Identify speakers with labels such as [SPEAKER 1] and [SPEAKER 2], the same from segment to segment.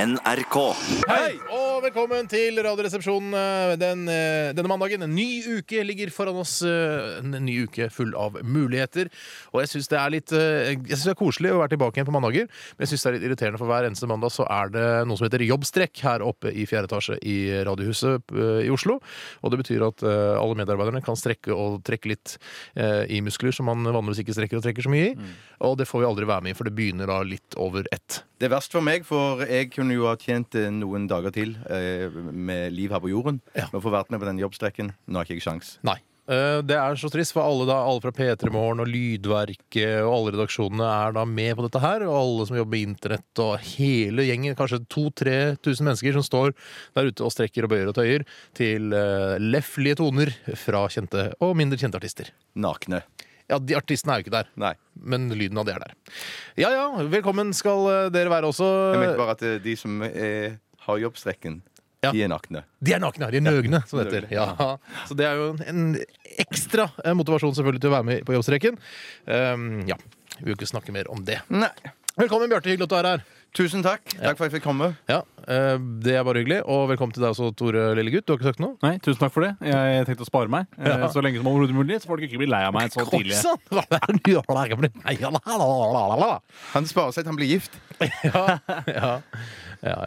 [SPEAKER 1] NRK.
[SPEAKER 2] Hei og velkommen til Radioresepsjonen eh, den, eh, denne mandagen. En ny uke ligger foran oss. eh, En ny uke full av muligheter. Og jeg syns det er litt eh, Jeg synes det er koselig å være tilbake igjen på mandager, men jeg syns det er litt irriterende, for hver eneste mandag så er det noe som heter jobbstrekk her oppe i fjerde etasje i Radiohuset eh, i Oslo. Og det betyr at eh, alle medarbeiderne kan strekke og trekke litt eh, i muskler som man vanligvis ikke strekker og trekker så mye i. Og det får vi aldri være med i, for det begynner da litt over ett.
[SPEAKER 3] Det er verst for meg, for jeg kunne jo ha tjent eh, noen dager til eh, med liv her på jorden.
[SPEAKER 2] Ja.
[SPEAKER 3] Men for å få vært med på den jobbstrekken, nå har ikke jeg sjans.
[SPEAKER 2] Nei. Eh, Det er så trist, for alle, da, alle fra P3 Morgen og Lydverket og alle redaksjonene er da med på dette her. Og alle som jobber med internett og hele gjengen, kanskje 2000-3000 mennesker som står der ute og strekker og bøyer og tøyer til eh, leflige toner fra kjente og mindre kjente artister.
[SPEAKER 3] Nakne.
[SPEAKER 2] Ja, de artistene er jo ikke der,
[SPEAKER 3] Nei.
[SPEAKER 2] men lyden av det er der. Ja ja, velkommen skal eh, dere være også.
[SPEAKER 3] Jeg mente bare at eh, de som eh, har jobbstrekken,
[SPEAKER 2] Ja.
[SPEAKER 3] de er nakne.
[SPEAKER 2] De er nakne, de er nøgne, som det heter.
[SPEAKER 3] nøgne.
[SPEAKER 2] Ja. Så det er jo en- en ekstra eh, motivasjon selvfølgelig til å være med på jobbstreken. Um, ja, vi vil ikke snakke mer om det.
[SPEAKER 3] Nei.
[SPEAKER 2] Velkommen, Bjarte. Hyggelig at du er her.
[SPEAKER 3] Tusen takk. Takk for at jeg fikk komme.
[SPEAKER 2] Ja, eh, Det er bare hyggelig. Og velkommen til deg også, Tore Lillegutt. Du har ikke sagt noe?
[SPEAKER 4] Nei, tusen takk for det. Jeg tenkte å spare meg eh,
[SPEAKER 2] Ja.
[SPEAKER 4] så lenge som overhodet mulig. Så folk ikke blir lei av meg så tidlig.
[SPEAKER 2] Korsan! Hva er det du gjør? Nei, ja, la, la, la, la, la.
[SPEAKER 3] Han sparer seg til han blir gift.
[SPEAKER 2] Ja, ja, ja.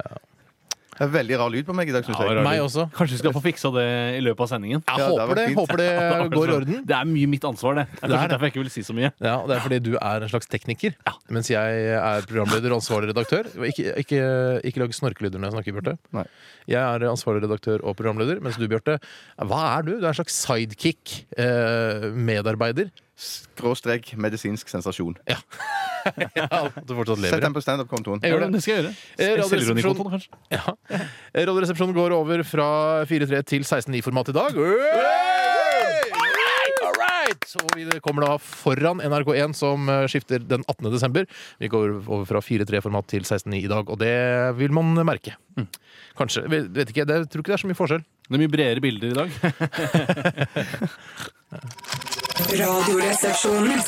[SPEAKER 3] Det er veldig rar lyd på meg i dag, syns
[SPEAKER 4] Ja, det er
[SPEAKER 3] jeg.
[SPEAKER 4] rart.
[SPEAKER 2] Meg også.
[SPEAKER 4] Kanskje vi skal få fiksa det i løpet av sendingen.
[SPEAKER 2] Jeg
[SPEAKER 3] Ja, det
[SPEAKER 2] håper
[SPEAKER 3] var
[SPEAKER 2] det,
[SPEAKER 3] fint.
[SPEAKER 2] håper det går i orden.
[SPEAKER 4] Det er mye mitt ansvar, det. Det er
[SPEAKER 2] Det er
[SPEAKER 4] kanskje
[SPEAKER 2] det.
[SPEAKER 4] derfor jeg ikke vil si så mye.
[SPEAKER 2] Ja, og Det er fordi du er en slags tekniker, mens jeg er programleder og ansvarlig redaktør. Ikke, ikke, ikke lag snorkelyder når jeg snakker, Bjarte.
[SPEAKER 3] Nei.
[SPEAKER 2] Jeg er ansvarlig redaktør og programleder, mens du, Bjarte, hva er du? Du er en slags eh, sidekick-medarbeider.
[SPEAKER 3] Skråstrek medisinsk sensasjon.
[SPEAKER 2] ja, at du fortsatt
[SPEAKER 3] Sett
[SPEAKER 2] lever. ja.
[SPEAKER 3] den på standup-kontoen.
[SPEAKER 2] Jeg gjør det.
[SPEAKER 4] det skal jeg gjøre.
[SPEAKER 2] Eh,
[SPEAKER 4] Selvironikontoen,
[SPEAKER 2] radioresepsjon.
[SPEAKER 4] kanskje.
[SPEAKER 2] Ja. Eh, Radioresepsjonen går over fra 4-3 til 16-9-format i dag. All right! Og vi kommer da foran NRK1, som eh, skifter den 18. desember. Vi går over fra 4-3-format til 16-9 i dag, og det vil man merke. Kanskje. Vet vet ikke, det, jeg tror ikke det er så mye forskjell.
[SPEAKER 4] Det er mye bredere bilder i dag.
[SPEAKER 5] Radioresepsjonen.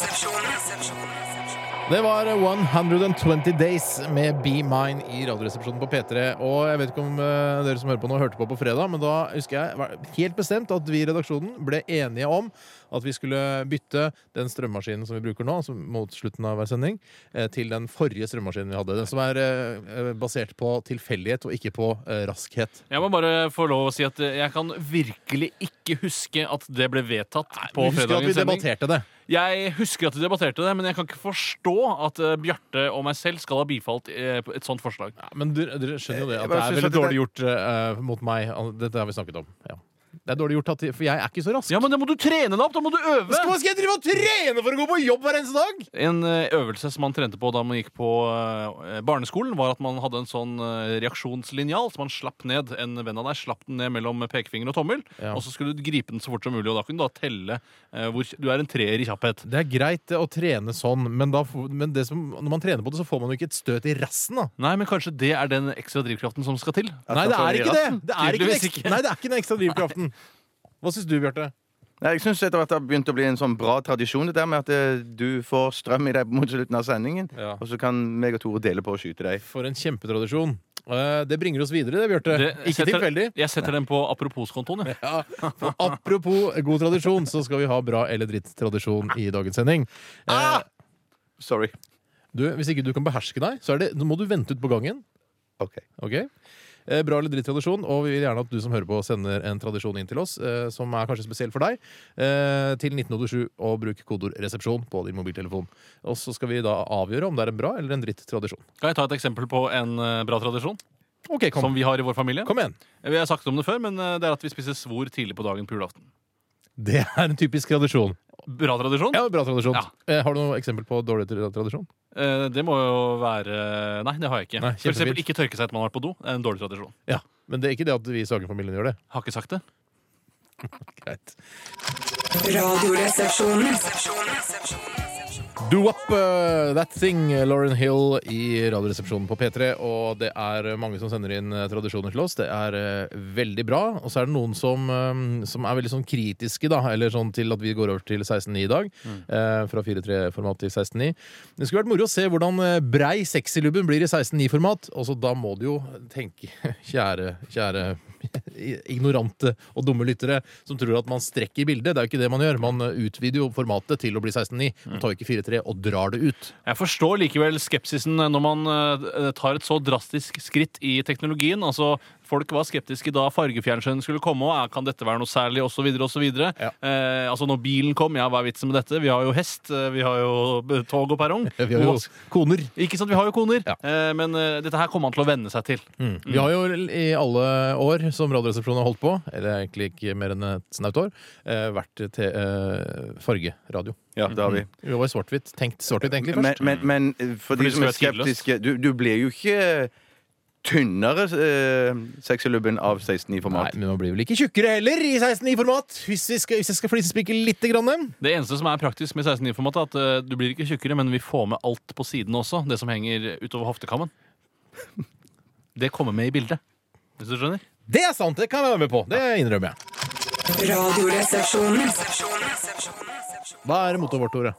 [SPEAKER 2] Det var 120 Days med Be Mine i Radioresepsjonen på P3. Og jeg vet ikke om eh, dere som hører på nå, hørte på på fredag, men da husker jeg var helt bestemt at vi i redaksjonen ble enige om at vi skulle bytte den strømmaskinen som vi bruker nå, altså mot slutten av hver sending, eh, til den forrige strømmaskinen vi hadde. Den som er eh, eh, basert på tilfeldighet og ikke på eh, raskhet.
[SPEAKER 4] Jeg må bare få lov å si at eh, jeg kan virkelig ikke huske at det ble vedtatt på
[SPEAKER 2] Vi husker at vi
[SPEAKER 4] fredagens sending.
[SPEAKER 2] debatterte det.
[SPEAKER 4] Jeg husker at de debatterte det, men jeg kan ikke forstå at eh, Bjarte og meg selv skal ha bifalt eh, et sånt forslag.
[SPEAKER 2] Ja, men dere, dere skjønner jo det,
[SPEAKER 3] Jeg
[SPEAKER 2] at det
[SPEAKER 3] bare
[SPEAKER 2] er
[SPEAKER 3] synes
[SPEAKER 2] veldig
[SPEAKER 3] at det-
[SPEAKER 2] dårlig gjort eh, mot meg. Dette har vi snakket om. Ja. Det er dårlig gjort, at, de- for jeg er ikke så rask.
[SPEAKER 4] Ja, men da må du trene deg opp! Da må du øve!
[SPEAKER 2] Hva skal jeg drive og trene for å gå på jobb hver eneste dag?!
[SPEAKER 4] En eh, øvelse som man trente på da man gikk på eh, barneskolen, var at man hadde en sånn eh, reaksjonslinjal som man slapp ned. En venn av deg slapp den ned mellom pekefinger og tommel,
[SPEAKER 2] Ja.
[SPEAKER 4] og så skulle du gripe den så fort som mulig, og da kunne du da telle eh, hvor Du er en treer i kjapphet.
[SPEAKER 2] Det er greit det, å trene sånn, men, da, får- men det som, når man trener på det, så får man jo ikke et støt i rassen, da.
[SPEAKER 4] Nei, men kanskje det er den ekstra drivkraften som skal til?
[SPEAKER 2] Nei, det
[SPEAKER 3] man
[SPEAKER 2] er
[SPEAKER 3] får
[SPEAKER 2] ikke det!
[SPEAKER 3] i rassen.
[SPEAKER 2] det er ikke den
[SPEAKER 4] Tydeligvis
[SPEAKER 2] ekstra,
[SPEAKER 4] ikke.
[SPEAKER 2] nei, det er ikke den ekstra drivkraften. Hva syns du, Bjarte?
[SPEAKER 3] Nei, Jeg syns etter hvert det har begynt å bli en sånn bra tradisjon, det der med at eh, du får strøm i deg mot slutten av sendingen,
[SPEAKER 2] Ja.
[SPEAKER 3] og så kan meg og Tore dele på å skyte deg.
[SPEAKER 2] For en kjempetradisjon. Eh, Det bringer oss videre, det, Bjarte.
[SPEAKER 4] Det-
[SPEAKER 2] Ikke
[SPEAKER 4] setter-
[SPEAKER 2] tilfeldig.
[SPEAKER 4] Jeg setter den på apropos-kontoen. jeg.
[SPEAKER 2] Ja, for apropos god tradisjon, så skal vi ha bra eller dritt-tradisjon i dagens sending. Eh,
[SPEAKER 3] Sorry.
[SPEAKER 2] Du, hvis ikke du kan beherske deg, så er det, nå må du vente ut på gangen.
[SPEAKER 3] Ok.
[SPEAKER 2] Ok? Eh, Bra eller dritt tradisjon, og vi vil gjerne at du som hører på sender en tradisjon inn til oss, eh, som er kanskje spesiell for deg, eh, til 1987 og bruk kodeord 'resepsjon' på din mobiltelefon. Og så skal vi da avgjøre om det er en bra eller en dritt tradisjon.
[SPEAKER 4] Kan jeg ta et eksempel på en eh, bra tradisjon
[SPEAKER 2] Ok,
[SPEAKER 4] som
[SPEAKER 2] kom,
[SPEAKER 4] vi har i vår familie?
[SPEAKER 2] kom igjen.
[SPEAKER 4] Vi har sagt om det før, men eh, det er at vi spiser svor tidlig på dagen på julaften.
[SPEAKER 2] Det er en typisk tradisjon.
[SPEAKER 4] Bra tradisjon?
[SPEAKER 2] Ja, bra tradisjon.
[SPEAKER 4] Ja.
[SPEAKER 2] Eh, Har du noe eksempel på dårlig tra- tradisjon?
[SPEAKER 4] Eh, Det må jo være Nei, det har jeg ikke.
[SPEAKER 2] Nei,
[SPEAKER 4] For eksempel
[SPEAKER 2] kjempefint.
[SPEAKER 4] ikke tørke seg etter man har vært på do. Det er en dårlig tradisjon.
[SPEAKER 2] Ja, men det er ikke det at vi i Sagen-familien gjør det.
[SPEAKER 4] Har ikke sagt det.
[SPEAKER 2] Greit.
[SPEAKER 5] Radioresepsjonen.
[SPEAKER 2] Do Up eh, That Thing, Lauren Hill i Radioresepsjonen på P3. Og det er mange som sender inn eh, tradisjoner til oss. Det er eh, veldig bra. Og så er det noen som, eh, som er veldig sånn kritiske da, eller sånn til at vi går over til 16.9 i dag. eh, Fra 4.3-format til 16.9. Det skulle vært moro å se hvordan eh, brei sexylubben blir i 16.9-format. Og så da må du jo tenke, kjære, kjære ignorante og dumme lyttere som tror at man strekker bildet. Det er jo ikke det man gjør. Man eh, utvider jo formatet til å bli 16.9. Man tar jo ikke 4.3 og drar det ut.
[SPEAKER 4] Jeg forstår likevel skepsisen når man eh, tar et så drastisk skritt i teknologien. Altså, Folk var skeptiske da fargefjernsyn skulle komme. Og, eh, kan dette være noe særlig? Og så videre, og så videre.
[SPEAKER 2] Ja.
[SPEAKER 4] Eh, altså, når bilen kom, ja, hva er vitsen med dette? Vi har jo hest, eh, vi har jo b- tog og perrong.
[SPEAKER 2] Vi har jo
[SPEAKER 4] Og-
[SPEAKER 2] koner.
[SPEAKER 4] Ikke sant, vi har jo koner.
[SPEAKER 2] Ja.
[SPEAKER 4] Eh, men eh, dette her kommer han til å venne seg til.
[SPEAKER 2] Mm. Vi har jo i alle år som Radioresepsjonen har holdt på, eller egentlig ikke mer enn et snaut år, eh, vært til eh, fargeradio.
[SPEAKER 3] Ja, det har vi.
[SPEAKER 2] Vi var i svart-hvitt. Tenkt svart-hvitt, egentlig,
[SPEAKER 3] Men,
[SPEAKER 2] først.
[SPEAKER 3] men, men eh, for
[SPEAKER 4] Fordi
[SPEAKER 3] de som
[SPEAKER 4] det
[SPEAKER 3] er
[SPEAKER 4] skal være tidløst.
[SPEAKER 3] skeptiske Du, du blir jo ikke tynnere eh, sexylubben av 16-9-format.
[SPEAKER 2] Nei, men man blir vel ikke tjukkere heller i 16.9-format, hvis vi skal, hvis jeg skal flisespikke lite grann.
[SPEAKER 4] Det eneste som er praktisk med 16.9-formatet, er at eh, du blir ikke tjukkere, men vi får med alt på sidene også. Det som henger utover hoftekammen. Det kommer med i bildet. Hvis du skjønner?
[SPEAKER 2] Det er sant! Det kan jeg være med på. Det innrømmer jeg.
[SPEAKER 1] Radioresepsjonen.
[SPEAKER 2] Hva er mottoet vårt, Tore?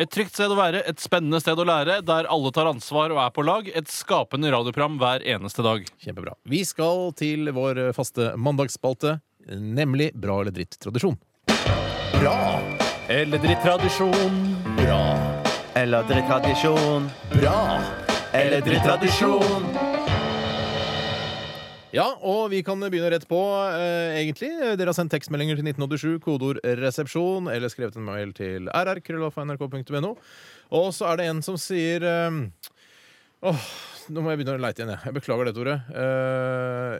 [SPEAKER 4] Et trygt sted å være, et spennende sted å lære, der alle tar ansvar og er på lag. Et skapende radioprogram hver eneste dag.
[SPEAKER 2] Kjempebra. Vi skal til vår eh, faste mandagsspalte, nemlig Bra eller dritt-tradisjon. Bra!
[SPEAKER 4] Eller drittradisjon.
[SPEAKER 2] Bra!
[SPEAKER 3] Eller drittradisjon.
[SPEAKER 2] Bra!
[SPEAKER 3] Eller drittradisjon.
[SPEAKER 2] Ja, og vi kan begynne rett på, eh, egentlig. Dere har sendt tekstmeldinger til 1987, kodeord 'resepsjon', eller skrevet en mail til rr.krøllalfa.nrk.no. Og så er det en som sier eh, Åh, nå må jeg begynne å leite igjen, jeg. Jeg beklager det, Tore. Eh,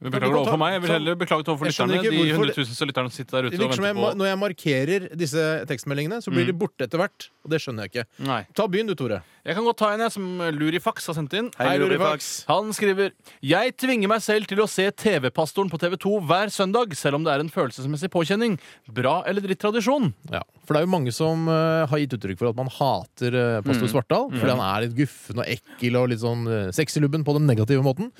[SPEAKER 4] Vi beklager overfor meg. Jeg vil heller beklage overfor
[SPEAKER 2] Jeg skjønner ikke
[SPEAKER 4] lytterne. De
[SPEAKER 2] hvorfor-
[SPEAKER 4] hundretusenvis av lytterne som sitter der
[SPEAKER 2] det
[SPEAKER 4] ute og
[SPEAKER 2] virker som jeg,
[SPEAKER 4] venter
[SPEAKER 2] ma-
[SPEAKER 4] på
[SPEAKER 2] Når jeg markerer disse tekstmeldingene, så blir de borte etter hvert. Og det skjønner jeg ikke.
[SPEAKER 4] Nei.
[SPEAKER 2] Ta Begynn du, Tore.
[SPEAKER 4] Jeg kan godt ta en jeg som Lurifax har sendt inn.
[SPEAKER 3] Hei, Lurifax.
[SPEAKER 4] Han skriver Jeg tvinger meg selv til å se TV-pastoren på TV2 hver søndag, selv om det er en følelsesmessig påkjenning. Bra eller drittradisjon?
[SPEAKER 2] Ja, For det er jo mange som eh, har gitt uttrykk for at man hater eh, pastor Svartdal. Fordi han er litt guffen og ekkel og litt sånn uh, sexylubben på den negative måten.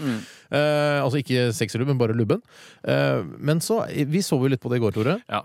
[SPEAKER 2] Eh, altså ikke sexylubben, bare lubben. Eh, men så Vi så jo litt på det i går, Tore.
[SPEAKER 4] Ja.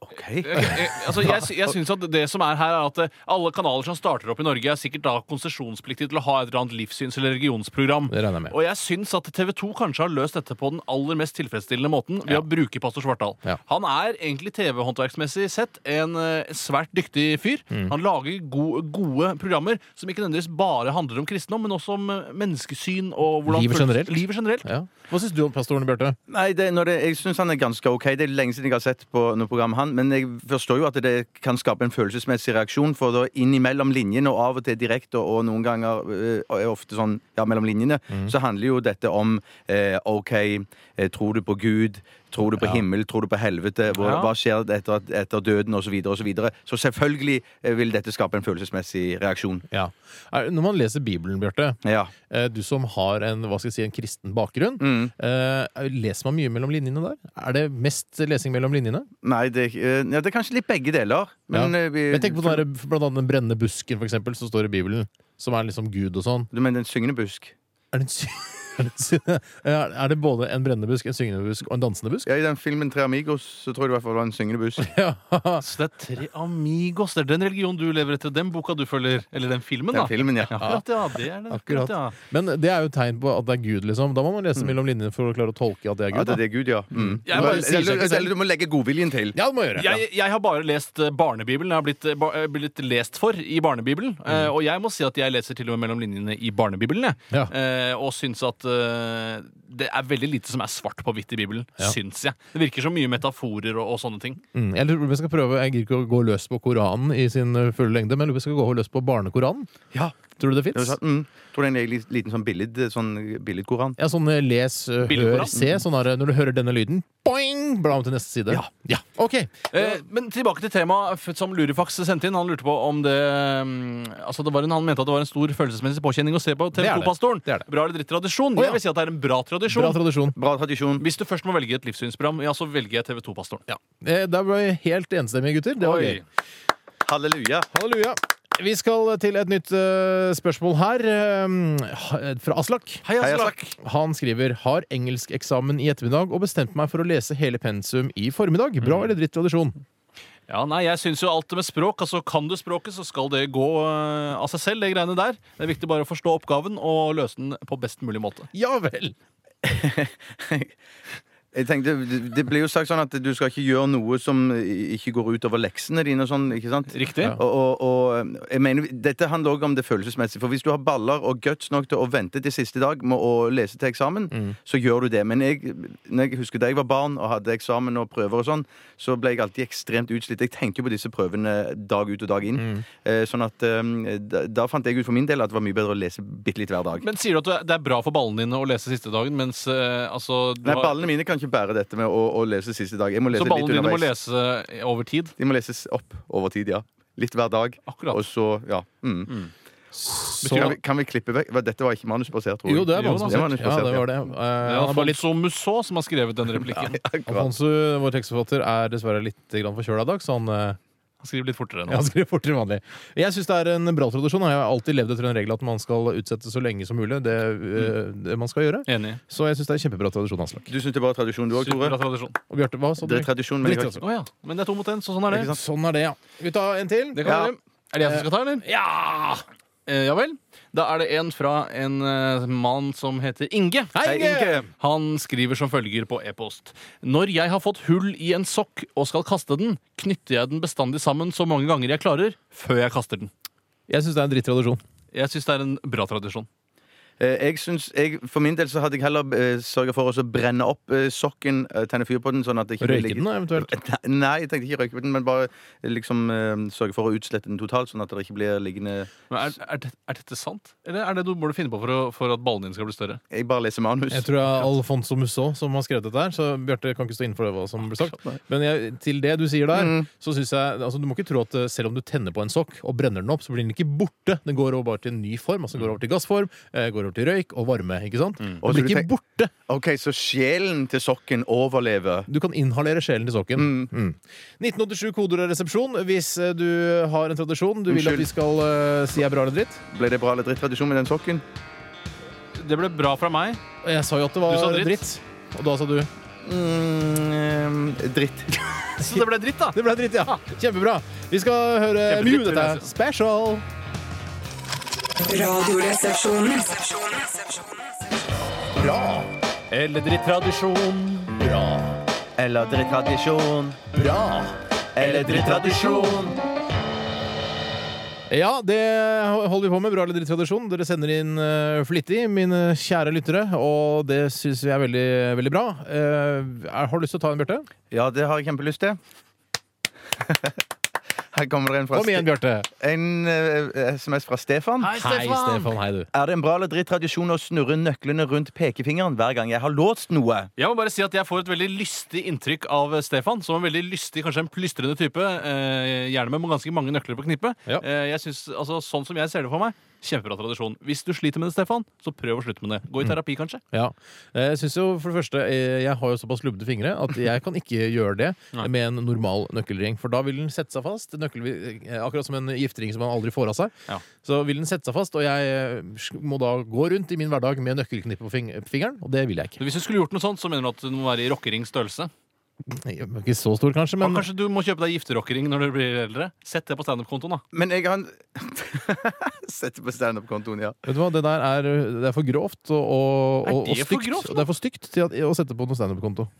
[SPEAKER 3] OK.
[SPEAKER 4] Eh, altså, jeg, sy- jeg synes at det som er her er at eh, Alle kanaler som starter opp i Norge, er sikkert da konsesjonspliktige til å ha et eller annet livssyns- eller religionsprogram.
[SPEAKER 2] Det regner jeg med.
[SPEAKER 4] Og jeg syns at TV 2 kanskje har løst dette på den aller mest tilfredsstillende måten ved å bruke pastor Svartdal.
[SPEAKER 2] Ja.
[SPEAKER 4] Han er egentlig TV-håndverksmessig sett en eh, svært dyktig fyr.
[SPEAKER 2] Mm.
[SPEAKER 4] Han lager gode, gode programmer som ikke nødvendigvis bare handler om kristendom, men også om eh, menneskesyn og hvordan
[SPEAKER 2] Livet
[SPEAKER 4] følelser-
[SPEAKER 2] generelt.
[SPEAKER 4] Livet generelt.
[SPEAKER 2] Ja. Hva syns du om pastoren, Bjarte?
[SPEAKER 3] Nei, det, når det, jeg syns han er ganske OK. Det er lenge siden jeg har sett på noe program han, men jeg forstår jo at det kan skape en følelsesmessig reaksjon, for da innimellom linjene, og av og til direkte, og noen ganger øh, og er ofte sånn ja, mellom linjene, så handler jo dette om eh, OK, eh, tror du på Gud? Tror du på himmel? Tror du på helvete? Hva,
[SPEAKER 4] Ja.
[SPEAKER 3] hva skjer etter, at- etter døden? Og så videre og så videre. Så selvfølgelig eh, vil dette skape en følelsesmessig reaksjon.
[SPEAKER 2] Ja. Er- Når man leser Bibelen, Bjarte,
[SPEAKER 3] Ja.
[SPEAKER 2] eh, du som har en, hva skal jeg si, en kristen bakgrunn, eh, leser man mye mellom linjene der? Er det mest lesing mellom linjene?
[SPEAKER 3] Nei, det, eh, ja, det er kanskje litt begge deler. Men
[SPEAKER 2] ja.
[SPEAKER 3] eh, vi,
[SPEAKER 2] Jeg tenker på den der, blant annet den brennende busken, for eksempel, som står i Bibelen. Som er liksom Gud og sånn.
[SPEAKER 3] Du mener den syngende busk?
[SPEAKER 2] Er det, en sy er det en sy er er det både en brennende busk, en syngende busk og en dansende busk?
[SPEAKER 3] Ja, I den filmen Tre Amigos så tror jeg i hvert fall det var en syngende busk.
[SPEAKER 2] Ja.
[SPEAKER 4] Så det er Tre Amigos. Det er den religionen du lever etter, den boka du følger. Eller den filmen, da.
[SPEAKER 3] Den filmen, ja.
[SPEAKER 4] Ja, Akkurat, ja. Det er det.
[SPEAKER 2] Akkurat.
[SPEAKER 4] Akkurat, ja.
[SPEAKER 2] Men det er jo et tegn på at det er Gud, liksom. Da må man lese mellom linjene for å klare å tolke at det er
[SPEAKER 3] Ja,
[SPEAKER 2] Gud.
[SPEAKER 3] det
[SPEAKER 2] Da.
[SPEAKER 3] er Gud, ja. Mm.
[SPEAKER 4] Jeg bare
[SPEAKER 2] sier seg ikke
[SPEAKER 3] Eller,
[SPEAKER 2] selv.
[SPEAKER 3] eller du må legge godviljen til.
[SPEAKER 2] Ja, det må jeg gjøre.
[SPEAKER 4] Jeg, jeg har bare lest eh, Barnebibelen. Jeg har blitt, eh, ba, eh, blitt lest for i Barnebibelen. Eh, og jeg må si at jeg leser til og med mellom linjene i Barnebibelen. Jeg.
[SPEAKER 2] Mm. Ja.
[SPEAKER 4] Eh, og syns at eh, det er veldig lite som er svart på hvitt i Bibelen.
[SPEAKER 2] Ja.
[SPEAKER 4] Syns jeg. Det virker så mye metaforer og, og sånne ting.
[SPEAKER 2] Mm. Jeg lurer på om jeg skal prøve Jeg gidder ikke å gå løs på Koranen i sin eh, fulle lengde, men jeg lurer på om jeg skal gå løs på Barnekoranen.
[SPEAKER 4] Ja.
[SPEAKER 2] Tror du det
[SPEAKER 3] Det var
[SPEAKER 2] fins?
[SPEAKER 3] sånn, Mm. Tror det er en li- liten sånn billed, sånn billedkoran.
[SPEAKER 2] Ja, sånn eh, les, eh, hør,
[SPEAKER 4] Bildekoran?
[SPEAKER 2] se. Sånn der, eh, når du hører denne lyden, boing! Bla om til neste side.
[SPEAKER 4] Ja.
[SPEAKER 2] OK.
[SPEAKER 4] Eh, men tilbake til temaet eh, f- som Lurifax sendte inn. Han lurte på om det mm, Altså det var en, Han mente at det var en stor følelsesmessig påkjenning å se på
[SPEAKER 2] er det.
[SPEAKER 4] TV2-pastoren.
[SPEAKER 2] Det er det.
[SPEAKER 4] Bra eller dritt
[SPEAKER 2] Å,
[SPEAKER 4] tradisjon?
[SPEAKER 2] ja.
[SPEAKER 4] Jeg vil si at det er en bra tradisjon.
[SPEAKER 2] Bra tradisjon.
[SPEAKER 3] Bra tradisjon.
[SPEAKER 4] Hvis du først må velge et livssynsprogram, ja, så velger jeg TV2-pastoren.
[SPEAKER 2] Eh, Der ble vi helt enstemmige, gutter. Det var
[SPEAKER 4] Oi.
[SPEAKER 2] gøy.
[SPEAKER 3] Halleluja.
[SPEAKER 2] Halleluja. Vi skal til et nytt eh, spørsmål her, eh, ha- fra Aslak.
[SPEAKER 4] Hei,
[SPEAKER 3] Hei,
[SPEAKER 4] Aslak.
[SPEAKER 3] Aslak.
[SPEAKER 2] Han skriver har engelskeksamen i ettermiddag og bestemte meg for å lese hele pensum i formiddag. Bra eller dritt tradisjon?
[SPEAKER 4] Ja, nei, jeg syns jo alt det med språk. altså Kan du språket, så skal det gå eh, av seg selv, det greiene der. Det er viktig bare å forstå oppgaven og løse den på best mulig måte.
[SPEAKER 2] Ja vel!
[SPEAKER 3] Jeg tenkte, det- Det blir jo sagt sånn at du skal ikke gjøre noe som ikke går ut over leksene dine. og sånn, ikke sant?
[SPEAKER 4] Riktig.
[SPEAKER 3] Og, og, og jeg mener, Dette handler også om det følelsesmessige. For hvis du har baller og guts nok til å vente til siste dag med å lese til eksamen,
[SPEAKER 4] Mm.
[SPEAKER 3] så gjør du det. Men jeg, når jeg husker da jeg var barn og hadde eksamen og prøver og sånn, så ble jeg alltid ekstremt utslitt. Jeg tenkte jo på disse prøvene dag ut og dag inn.
[SPEAKER 4] Mm.
[SPEAKER 3] Eh, Sånn at eh, da, da fant jeg ut for min del at det var mye bedre å lese bitte litt hver dag.
[SPEAKER 4] Men sier du at du er- det er bra for ballene dine å lese siste dagen, mens eh, altså du
[SPEAKER 3] Nei,
[SPEAKER 4] har-
[SPEAKER 3] ballene mine kan ikke bære dette med å, å lese siste dag. Jeg må
[SPEAKER 4] Så
[SPEAKER 3] lese litt
[SPEAKER 4] ballene dine må
[SPEAKER 3] underveis.
[SPEAKER 4] lese eh, over tid?
[SPEAKER 3] De må leses opp over tid, ja. Litt hver dag.
[SPEAKER 4] Akkurat.
[SPEAKER 3] Og så, ja. Mm.
[SPEAKER 2] Så,
[SPEAKER 3] Kan, vi, kan vi klippe vekk? Hva, Dette var ikke manusbasert, tror jeg.
[SPEAKER 2] jo, det er
[SPEAKER 4] Jo, da.
[SPEAKER 2] vanskelig. Ja,
[SPEAKER 3] manusbasert,
[SPEAKER 2] det var det. Eh,
[SPEAKER 4] Det
[SPEAKER 2] han
[SPEAKER 4] er
[SPEAKER 2] er bare litt
[SPEAKER 4] Alfonso Musso som har skrevet den replikken.
[SPEAKER 3] Akkurat.
[SPEAKER 2] Alfonso, vår tekstforfatter, er dessverre litt grann forkjøla i dag, så han, eh,
[SPEAKER 4] Han skriver litt fortere nå.
[SPEAKER 2] han skriver fortere enn vanlig. Jeg syns det er en bra tradisjon. og Jeg har alltid levd etter en regel at man skal utsette så lenge som mulig det, eh, det man skal gjøre.
[SPEAKER 4] Enig.
[SPEAKER 2] Så jeg syns det er en kjempebra tradisjon, Aslak.
[SPEAKER 3] Du syns det var tradisjon, du òg,
[SPEAKER 4] Superbra
[SPEAKER 3] Tore?
[SPEAKER 4] tradisjon.
[SPEAKER 2] Og Bjarte, hva sa du?
[SPEAKER 3] Det er tradisjon, men jeg har
[SPEAKER 2] Dritt,
[SPEAKER 3] ikke
[SPEAKER 4] Å ja. Men det er to mot én, så sånn er det.
[SPEAKER 3] Ikke sant?
[SPEAKER 2] Sånn er det, ja. Skal vi ta en til?
[SPEAKER 4] Det kan
[SPEAKER 3] Ja.
[SPEAKER 4] dere. Er det jeg som skal ta, eller? Ja! Eh, ja vel. Da er det en fra en eh, mann som heter Inge.
[SPEAKER 2] Hei, Inge!
[SPEAKER 4] Han skriver som følger på e-post. Når jeg har fått hull i en sokk og skal kaste den, knytter jeg den bestandig sammen så mange ganger jeg klarer, før jeg kaster den.
[SPEAKER 2] Jeg syns det er en dritt tradisjon.
[SPEAKER 4] Jeg syns det er en bra tradisjon.
[SPEAKER 3] Eh, Jeg synes, jeg, for min del så hadde jeg heller eh, sørga for å så brenne opp eh, sokken, eh, tenne fyr på den sånn at det ikke
[SPEAKER 2] Røyke den, da, eventuelt.
[SPEAKER 3] Nei, jeg tenkte ikke røyke på den, men bare eh, liksom eh, sørge for å utslette den totalt, sånn at det ikke blir liggende
[SPEAKER 4] Men er, er, det, er dette sant? Eller er det noe du må finne på for, å, for at ballene dine skal bli større?
[SPEAKER 3] Jeg bare leser manus.
[SPEAKER 2] Jeg tror det er Alfonso Musso som har skrevet dette her, så Bjarte kan ikke stå innenfor det hva som blir sagt. Men jeg, til det du sier der, så syns jeg altså, Du må ikke tro at eh, selv om du tenner på en sokk og brenner den opp, så blir den ikke borte. Den går over bare til en ny form. Altså den går over til gassform, eh, går over til røyk Mm. og varme. Ikke sant?
[SPEAKER 3] Og
[SPEAKER 2] Den
[SPEAKER 3] så
[SPEAKER 2] blir
[SPEAKER 3] du
[SPEAKER 2] ikke
[SPEAKER 3] tenk-
[SPEAKER 2] borte.
[SPEAKER 3] OK, så sjelen til sokken overlever.
[SPEAKER 2] Du kan inhalere sjelen til sokken. Mm. 1987 koder og resepsjon. Hvis eh, du har en tradisjon du vil at
[SPEAKER 3] Unnskyld.
[SPEAKER 2] vi skal eh, si er bra eller dritt.
[SPEAKER 3] Ble det bra eller dritt tradisjon med den sokken?
[SPEAKER 4] Det ble bra fra meg.
[SPEAKER 2] Og Jeg sa jo at det
[SPEAKER 4] Du sa
[SPEAKER 2] var
[SPEAKER 4] dritt.
[SPEAKER 2] dritt. Og da sa du Det
[SPEAKER 3] Mm, eh, dritt.
[SPEAKER 4] Så det ble dritt, da.
[SPEAKER 2] ble dritt, ja. Kjempebra. Vi skal høre
[SPEAKER 4] Kjempedritt,
[SPEAKER 2] Mew. Dette
[SPEAKER 4] vil jeg
[SPEAKER 2] er special.
[SPEAKER 1] Radioresepsjonen.
[SPEAKER 2] Bra.
[SPEAKER 4] Eller dritt-tradisjon.
[SPEAKER 2] Bra.
[SPEAKER 3] Eller dritt tradisjon.
[SPEAKER 2] Bra.
[SPEAKER 3] Eller dritt tradisjon.
[SPEAKER 2] Ja, det holder vi på med. Bra eller dritt tradisjon. Dere sender inn eh, flittig, mine kjære lyttere, og det syns vi er veldig, veldig bra. Eh, er- har du lyst til å ta en, Bjarte?
[SPEAKER 3] Ja, det har jeg kjempelyst til. Her kommer det en fra
[SPEAKER 2] Kom igjen, Bjarte.
[SPEAKER 3] Ste- En eh, SMS fra Stefan.
[SPEAKER 4] Hei, Stefan!
[SPEAKER 2] Hei, du.
[SPEAKER 3] Er det en bra eller dritt tradisjon å snurre nøklene rundt pekefingeren hver gang jeg har låst noe?
[SPEAKER 4] Jeg må bare si at jeg får et veldig lystig inntrykk av Stefan. Som en veldig lystig, kanskje en plystrende type. Eh, gjerne med ganske mange nøkler på knippet.
[SPEAKER 2] Ja.
[SPEAKER 4] Eh, jeg synes, altså, sånn som jeg ser det for meg, kjempebra tradisjon. Hvis du sliter med det, Stefan, så prøv å slutte med det. Gå i terapi, kanskje.
[SPEAKER 2] Ja. Eh, Jeg synes jo for det første eh, Jeg har jo såpass lubne fingre at jeg kan ikke gjøre det
[SPEAKER 4] Nei.
[SPEAKER 2] med en normal nøkkelring. For da vil den sette seg fast. Nøkkel, eh, akkurat som en giftering som man aldri får av seg.
[SPEAKER 4] Ja.
[SPEAKER 2] Så vil den sette seg fast, og jeg eh, må da gå rundt i min hverdag med nøkkelknippet på fing- fingeren. Og det vil jeg
[SPEAKER 4] Så
[SPEAKER 2] ikke.
[SPEAKER 4] Hvis du skulle gjort noe sånt, så mener du at du må være i rockering størrelse.
[SPEAKER 2] Jeg er Ikke så stor, kanskje,
[SPEAKER 4] Ja,
[SPEAKER 2] men
[SPEAKER 4] kanskje du må kjøpe deg gifterockering når du blir eldre? Sett det på standup-kontoen, da.
[SPEAKER 3] Men jeg har en Setter på standup-kontoen, ja.
[SPEAKER 2] vet du hva, det der er, det er for grovt og, og, og, og
[SPEAKER 4] Er det for
[SPEAKER 2] stygt.
[SPEAKER 4] grovt, da? Hmm.
[SPEAKER 2] og det er for stygt til at, å sette på noen standup-konto.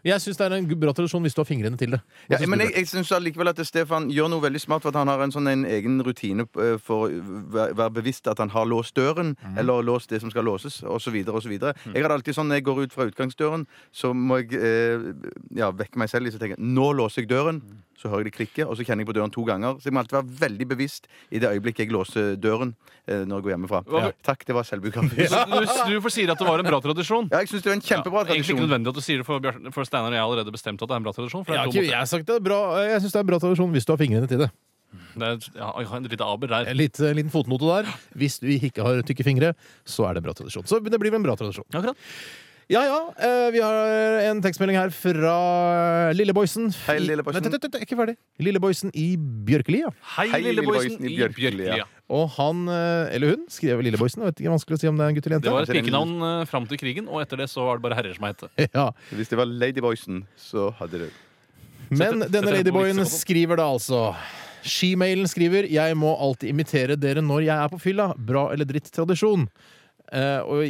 [SPEAKER 2] Jeg syns det er en bra tradisjon hvis du har fingrene til det. Hva
[SPEAKER 3] Ja,
[SPEAKER 2] synes du,
[SPEAKER 3] men
[SPEAKER 2] Bjarte?
[SPEAKER 3] jeg, jeg synes allikevel at Stefan gjør noe veldig smart. For at han har en sånn en egen rutine eh, for å væ- være bevisst at han har låst døren, eller låst det som skal låses, osv. osv. Jeg har alltid sånn når jeg går ut fra utgangsdøren, så må jeg eh, ja, vekke meg selv litt og tenke Nå låser jeg døren. Så hører jeg det klikke, og så kjenner jeg på døren to ganger. Så jeg må alltid være veldig bevisst i det øyeblikket jeg låser døren eh, når jeg går hjemmefra.
[SPEAKER 4] Hva-
[SPEAKER 3] Takk, det var selvbiografisk.
[SPEAKER 4] Så du, du får sier at det var en bra tradisjon.
[SPEAKER 3] Ja, jeg syns det var en kjempebra
[SPEAKER 4] Egentlig ikke
[SPEAKER 3] tradisjon.
[SPEAKER 4] nødvendig at du sier det, for, Bjarte- for Steinar og jeg har allerede bestemt at det er en bra tradisjon. For det
[SPEAKER 2] Jeg
[SPEAKER 4] er
[SPEAKER 2] har
[SPEAKER 4] to
[SPEAKER 2] ikke, jeg
[SPEAKER 4] mot-
[SPEAKER 2] har sagt det er bra, jeg syns det er en bra tradisjon hvis du har fingrene til det.
[SPEAKER 4] det er, ja, jeg har en liten aber der.
[SPEAKER 2] En litt, en liten fotnote der. Hvis du ikke har tykke fingre, så er det en bra tradisjon. Så det blir en bra tradisjon.
[SPEAKER 4] Akkurat.
[SPEAKER 2] Ja ja, eh, vi har en tekstmelding her fra Lilleboysen.
[SPEAKER 3] Hei, Lilleboysen.
[SPEAKER 2] Vent, vent, vent, ikke ferdig. Lilleboysen i Bjørkelia.
[SPEAKER 4] Hei,
[SPEAKER 3] Hei,
[SPEAKER 4] lille boysen
[SPEAKER 3] Lilleboysen
[SPEAKER 4] i
[SPEAKER 3] i
[SPEAKER 4] Bjørkelia.
[SPEAKER 3] Bjørkelia.
[SPEAKER 2] Og han, eh, eller hun, skrev Lilleboysen. Jeg Vet ikke, vanskelig å si om det er en gutt eller
[SPEAKER 4] Det
[SPEAKER 2] jente.
[SPEAKER 4] var et pikenavn eh, fram til krigen, og etter det så var det bare herrer som het det.
[SPEAKER 2] Ja.
[SPEAKER 3] Hvis det var Ladyboysen, så hadde det
[SPEAKER 2] Men denne
[SPEAKER 4] Sette- sette den på
[SPEAKER 2] ladyboyen
[SPEAKER 4] vitsekontoen.
[SPEAKER 2] skriver da altså Skimailen skriver 'Jeg må alltid imitere dere når jeg er på fylla'. Bra eller dritt tradisjon. Eh, og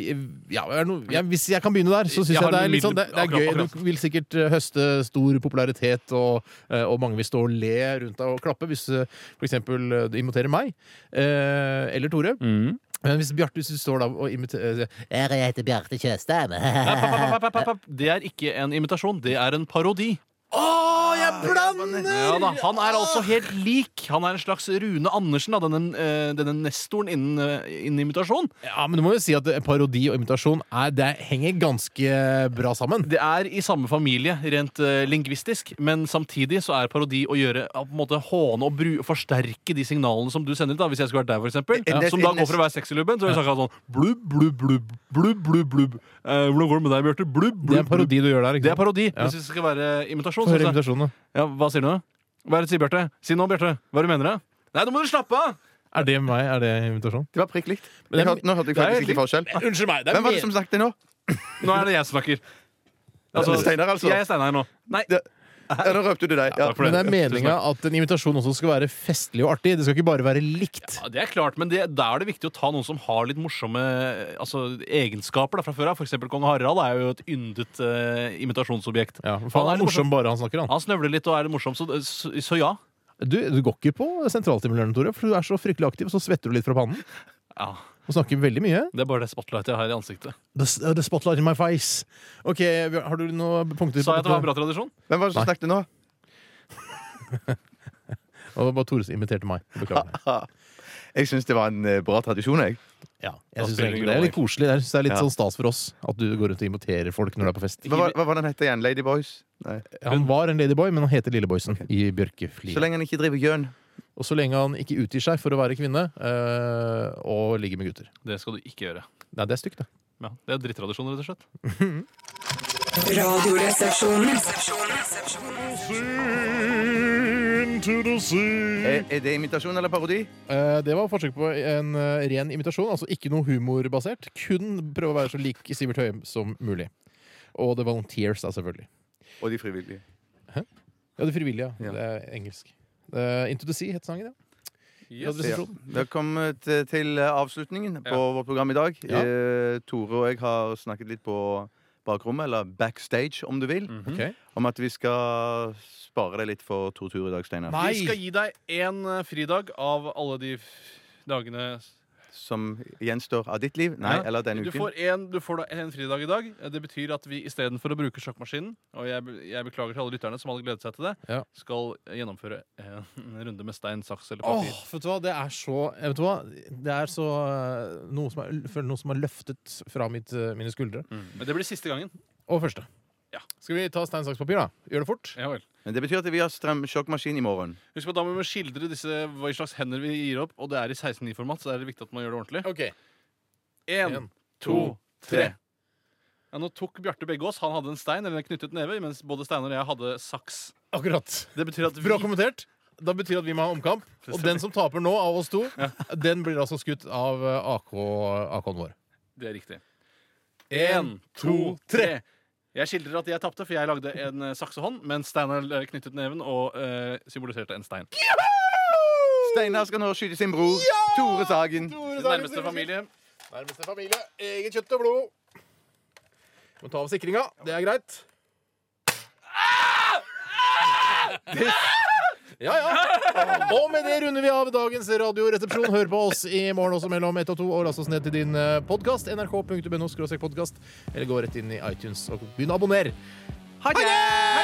[SPEAKER 2] ja, er det noe, ja, Hvis jeg kan begynne der, så syns
[SPEAKER 4] Jeg
[SPEAKER 2] jeg,
[SPEAKER 4] har
[SPEAKER 2] det er
[SPEAKER 4] en
[SPEAKER 2] litt sånn, det, det er
[SPEAKER 4] middel-
[SPEAKER 2] gøy.
[SPEAKER 4] akkurat-
[SPEAKER 2] Du vil sikkert eh, høste stor popularitet, og, eh, og mange vil stå og le rundt deg og klappe hvis eh, for eksempel eh, du imiterer meg eh, eller Tore.
[SPEAKER 4] Mm.
[SPEAKER 2] Men hvis Bjarte hvis du står da og eh, imiterer
[SPEAKER 5] Jeg heter Bjarte Tjøstheim.
[SPEAKER 4] Nei, papp, papp, papp, papp, papp, papp. Det er ikke en imitasjon, det er en parodi.
[SPEAKER 2] jeg blander!
[SPEAKER 4] Ja da, Han er altså helt lik. Han er en slags Rune Andersen, da, denne, eh, denne nestoren innen, eh, innen imitasjon.
[SPEAKER 2] Ja, men du må jo si at eh, parodi og imitasjon er, det henger ganske bra sammen.
[SPEAKER 4] Det er i samme familie rent eh, lingvistisk, men samtidig så er parodi å gjøre å på en måte håne og bru, forsterke de signalene som du sender ut, da, hvis jeg skulle vært deg, for eksempel.
[SPEAKER 3] En- en-
[SPEAKER 4] Som da
[SPEAKER 3] en-
[SPEAKER 4] går for å være sexylubben, så vil jeg snakke sånn blubb, blubb, blubb, blubb, blubb, blubb. Eh, hvordan går det med deg, Bjarte? Blubb, blubb,
[SPEAKER 2] Det er en
[SPEAKER 4] blubb.
[SPEAKER 2] parodi du gjør der.
[SPEAKER 4] Det
[SPEAKER 2] ikke
[SPEAKER 4] er
[SPEAKER 2] sant?
[SPEAKER 4] parodi. altså. Hvis det skal være imitasjon,
[SPEAKER 2] Få
[SPEAKER 4] så
[SPEAKER 2] høre
[SPEAKER 4] er det
[SPEAKER 2] imitasjonen, da.
[SPEAKER 4] Ja, hva sier du nå? Hva er det du sier, Bjarte? Si nå, Bjarte. Hva er det du mener, da? Nei, nå må du slappe av!
[SPEAKER 2] Er det meg? Er det imitasjon?
[SPEAKER 3] Det var prikk likt.
[SPEAKER 2] Men det er-
[SPEAKER 3] Jeg hørte- Nå hørte jeg
[SPEAKER 4] det er
[SPEAKER 3] faktisk
[SPEAKER 4] litt-
[SPEAKER 3] ikke forskjell.
[SPEAKER 2] Unnskyld meg.
[SPEAKER 3] Hvem var det som snakket nå?
[SPEAKER 4] Nå er det jeg som snakker.
[SPEAKER 3] Steinar, altså.
[SPEAKER 4] Jeg er Steinar nå. Nei,
[SPEAKER 3] Det- Ja, nå røpte du deg. Ja.
[SPEAKER 4] takk for
[SPEAKER 2] men det er
[SPEAKER 4] Tusen takk.
[SPEAKER 2] meninga at en invitasjon også skal være festlig og artig. Det skal ikke bare være likt.
[SPEAKER 4] Ja, det er klart, men det, da er det viktig å ta noen som har litt morsomme eh, altså, egenskaper da, fra før av. For eksempel kong Harald er jo et yndet eh, imitasjonsobjekt.
[SPEAKER 2] Ja, for Han
[SPEAKER 4] litt
[SPEAKER 2] er morsom bare han snakker, han.
[SPEAKER 4] Han snøvler litt og er litt morsom, så, så, så ja.
[SPEAKER 2] Du, du går ikke på sentralstimulerende, Tore, for du er så fryktelig aktiv, og så svetter du litt fra pannen.
[SPEAKER 4] ja.
[SPEAKER 2] Og snakker veldig mye.
[SPEAKER 4] Det er bare det spotlightet jeg har i ansiktet.
[SPEAKER 2] The, the spotlight in my face. Ok, Bjørn, Har du noen punkter?
[SPEAKER 4] Sa jeg at det var en bra tradisjon?
[SPEAKER 3] Hvem var det som
[SPEAKER 2] Nei.
[SPEAKER 3] snakket nå?
[SPEAKER 2] Og det var bare Tore som imiterte meg. Beklager.
[SPEAKER 3] Jeg syns det var en eh, bra tradisjon, jeg.
[SPEAKER 2] Ja,
[SPEAKER 4] Da
[SPEAKER 2] jeg synes egentlig
[SPEAKER 4] spiller det
[SPEAKER 2] Det
[SPEAKER 4] ingen
[SPEAKER 2] er litt koselig. Jeg synes det er litt
[SPEAKER 3] Ja.
[SPEAKER 2] sånn stas for oss at du går rundt og imiterer folk når du er på fest.
[SPEAKER 3] Hva, var- hva var den hette igjen? Ladyboys? Nei.
[SPEAKER 2] Han var en ladyboy, men han heter Lilleboysen i Bjørkefli.
[SPEAKER 3] Så lenge han ikke driver gjøn.
[SPEAKER 2] Og så lenge han ikke utgir seg for å være kvinne eh, og ligger med gutter.
[SPEAKER 4] Det skal du ikke gjøre.
[SPEAKER 2] Nei, det er stygt, det.
[SPEAKER 4] Ja, det er drittradisjon, rett og slett.
[SPEAKER 1] Radioresepsjonen.
[SPEAKER 3] Er, er det imitasjon eller parodi?
[SPEAKER 2] Eh, det var forsøk på en eh, ren imitasjon, altså ikke noe humorbasert. Kun prøve å være så lik Sivert Høyem som mulig. Og The Volunteers, da, selvfølgelig.
[SPEAKER 3] Og de frivillige.
[SPEAKER 2] Ja, Det frivillige.
[SPEAKER 3] Ja.
[SPEAKER 2] Ja. Det er engelsk. Uh, Into the Sea het sangen, ja.
[SPEAKER 3] Ja.
[SPEAKER 2] Radioresepsjonen.
[SPEAKER 3] Velkommen til, til eh, avslutningen på vårt program i dag.
[SPEAKER 2] Ja.
[SPEAKER 3] Eh, Tore og jeg har snakket litt på bakrommet, eller backstage om du vil,
[SPEAKER 4] Mm.
[SPEAKER 2] Ok.
[SPEAKER 3] om at vi skal spare deg litt for tortur i dag, Steinar.
[SPEAKER 2] Nei.
[SPEAKER 4] Vi skal gi deg én fridag av alle de f- dagene
[SPEAKER 3] Som gjenstår av ditt liv. Nei,
[SPEAKER 4] Ja.
[SPEAKER 3] eller denne
[SPEAKER 4] Du
[SPEAKER 3] uken.
[SPEAKER 4] får, en, du får da en fridag i dag. Det betyr at vi istedenfor å bruke sjakkmaskinen, og jeg, be- jeg beklager til alle lytterne som hadde gledet seg til det,
[SPEAKER 2] Ja.
[SPEAKER 4] skal gjennomføre en runde med stein, saks eller
[SPEAKER 2] Åh,
[SPEAKER 4] papir.
[SPEAKER 2] vet du hva, det er så Vet du hva, det er så eh, Noe som er, føler noe som er løftet fra mitt, eh, mine skuldre.
[SPEAKER 4] Men det blir siste gangen.
[SPEAKER 2] Og første.
[SPEAKER 4] Ja.
[SPEAKER 2] Skal vi ta stein, saks, papir, da? Gjør det fort?
[SPEAKER 4] Ja vel.
[SPEAKER 3] Men det betyr at vi har strøm sjokkmaskin i morgen.
[SPEAKER 4] Husk på at da må vi skildre disse, hva slags hender vi gir opp, og det er i 16.9-format, så det er viktig at man gjør det ordentlig.
[SPEAKER 2] Ok.
[SPEAKER 4] En,
[SPEAKER 2] En,
[SPEAKER 4] to, tre.
[SPEAKER 2] tre.
[SPEAKER 4] Ja, nå tok Bjarte begge oss. Han hadde en stein eller en knyttet neve, mens både Steinar og jeg hadde saks.
[SPEAKER 2] Akkurat.
[SPEAKER 4] Det betyr at vi
[SPEAKER 2] Bra kommentert. Da betyr det at vi må ha omkamp. Og den som taper nå, av oss to, den blir altså skutt av eh, AK, AK-en vår.
[SPEAKER 4] Det er riktig. En, to, tre. Jeg skildrer at jeg tapte, for jeg lagde en eh, saksehånd, mens Steinar eh, knyttet neven og eh, symboliserte en stein.
[SPEAKER 3] Steinar skal nå skyte sin bror, Tore Sagen.
[SPEAKER 4] Den nærmeste familie.
[SPEAKER 2] Nærmeste familie. Eget kjøtt og blod. Må ta av sikringa. Det er greit. Ah! Ja, ja. Og med det runder vi av dagens Radioresepsjon. Hør på oss i morgen også mellom ett og to, og last oss ned til din eh, podkast. nrk.no podkast. Eller gå rett inn i iTunes og begynn å abonnere.
[SPEAKER 3] Ha det!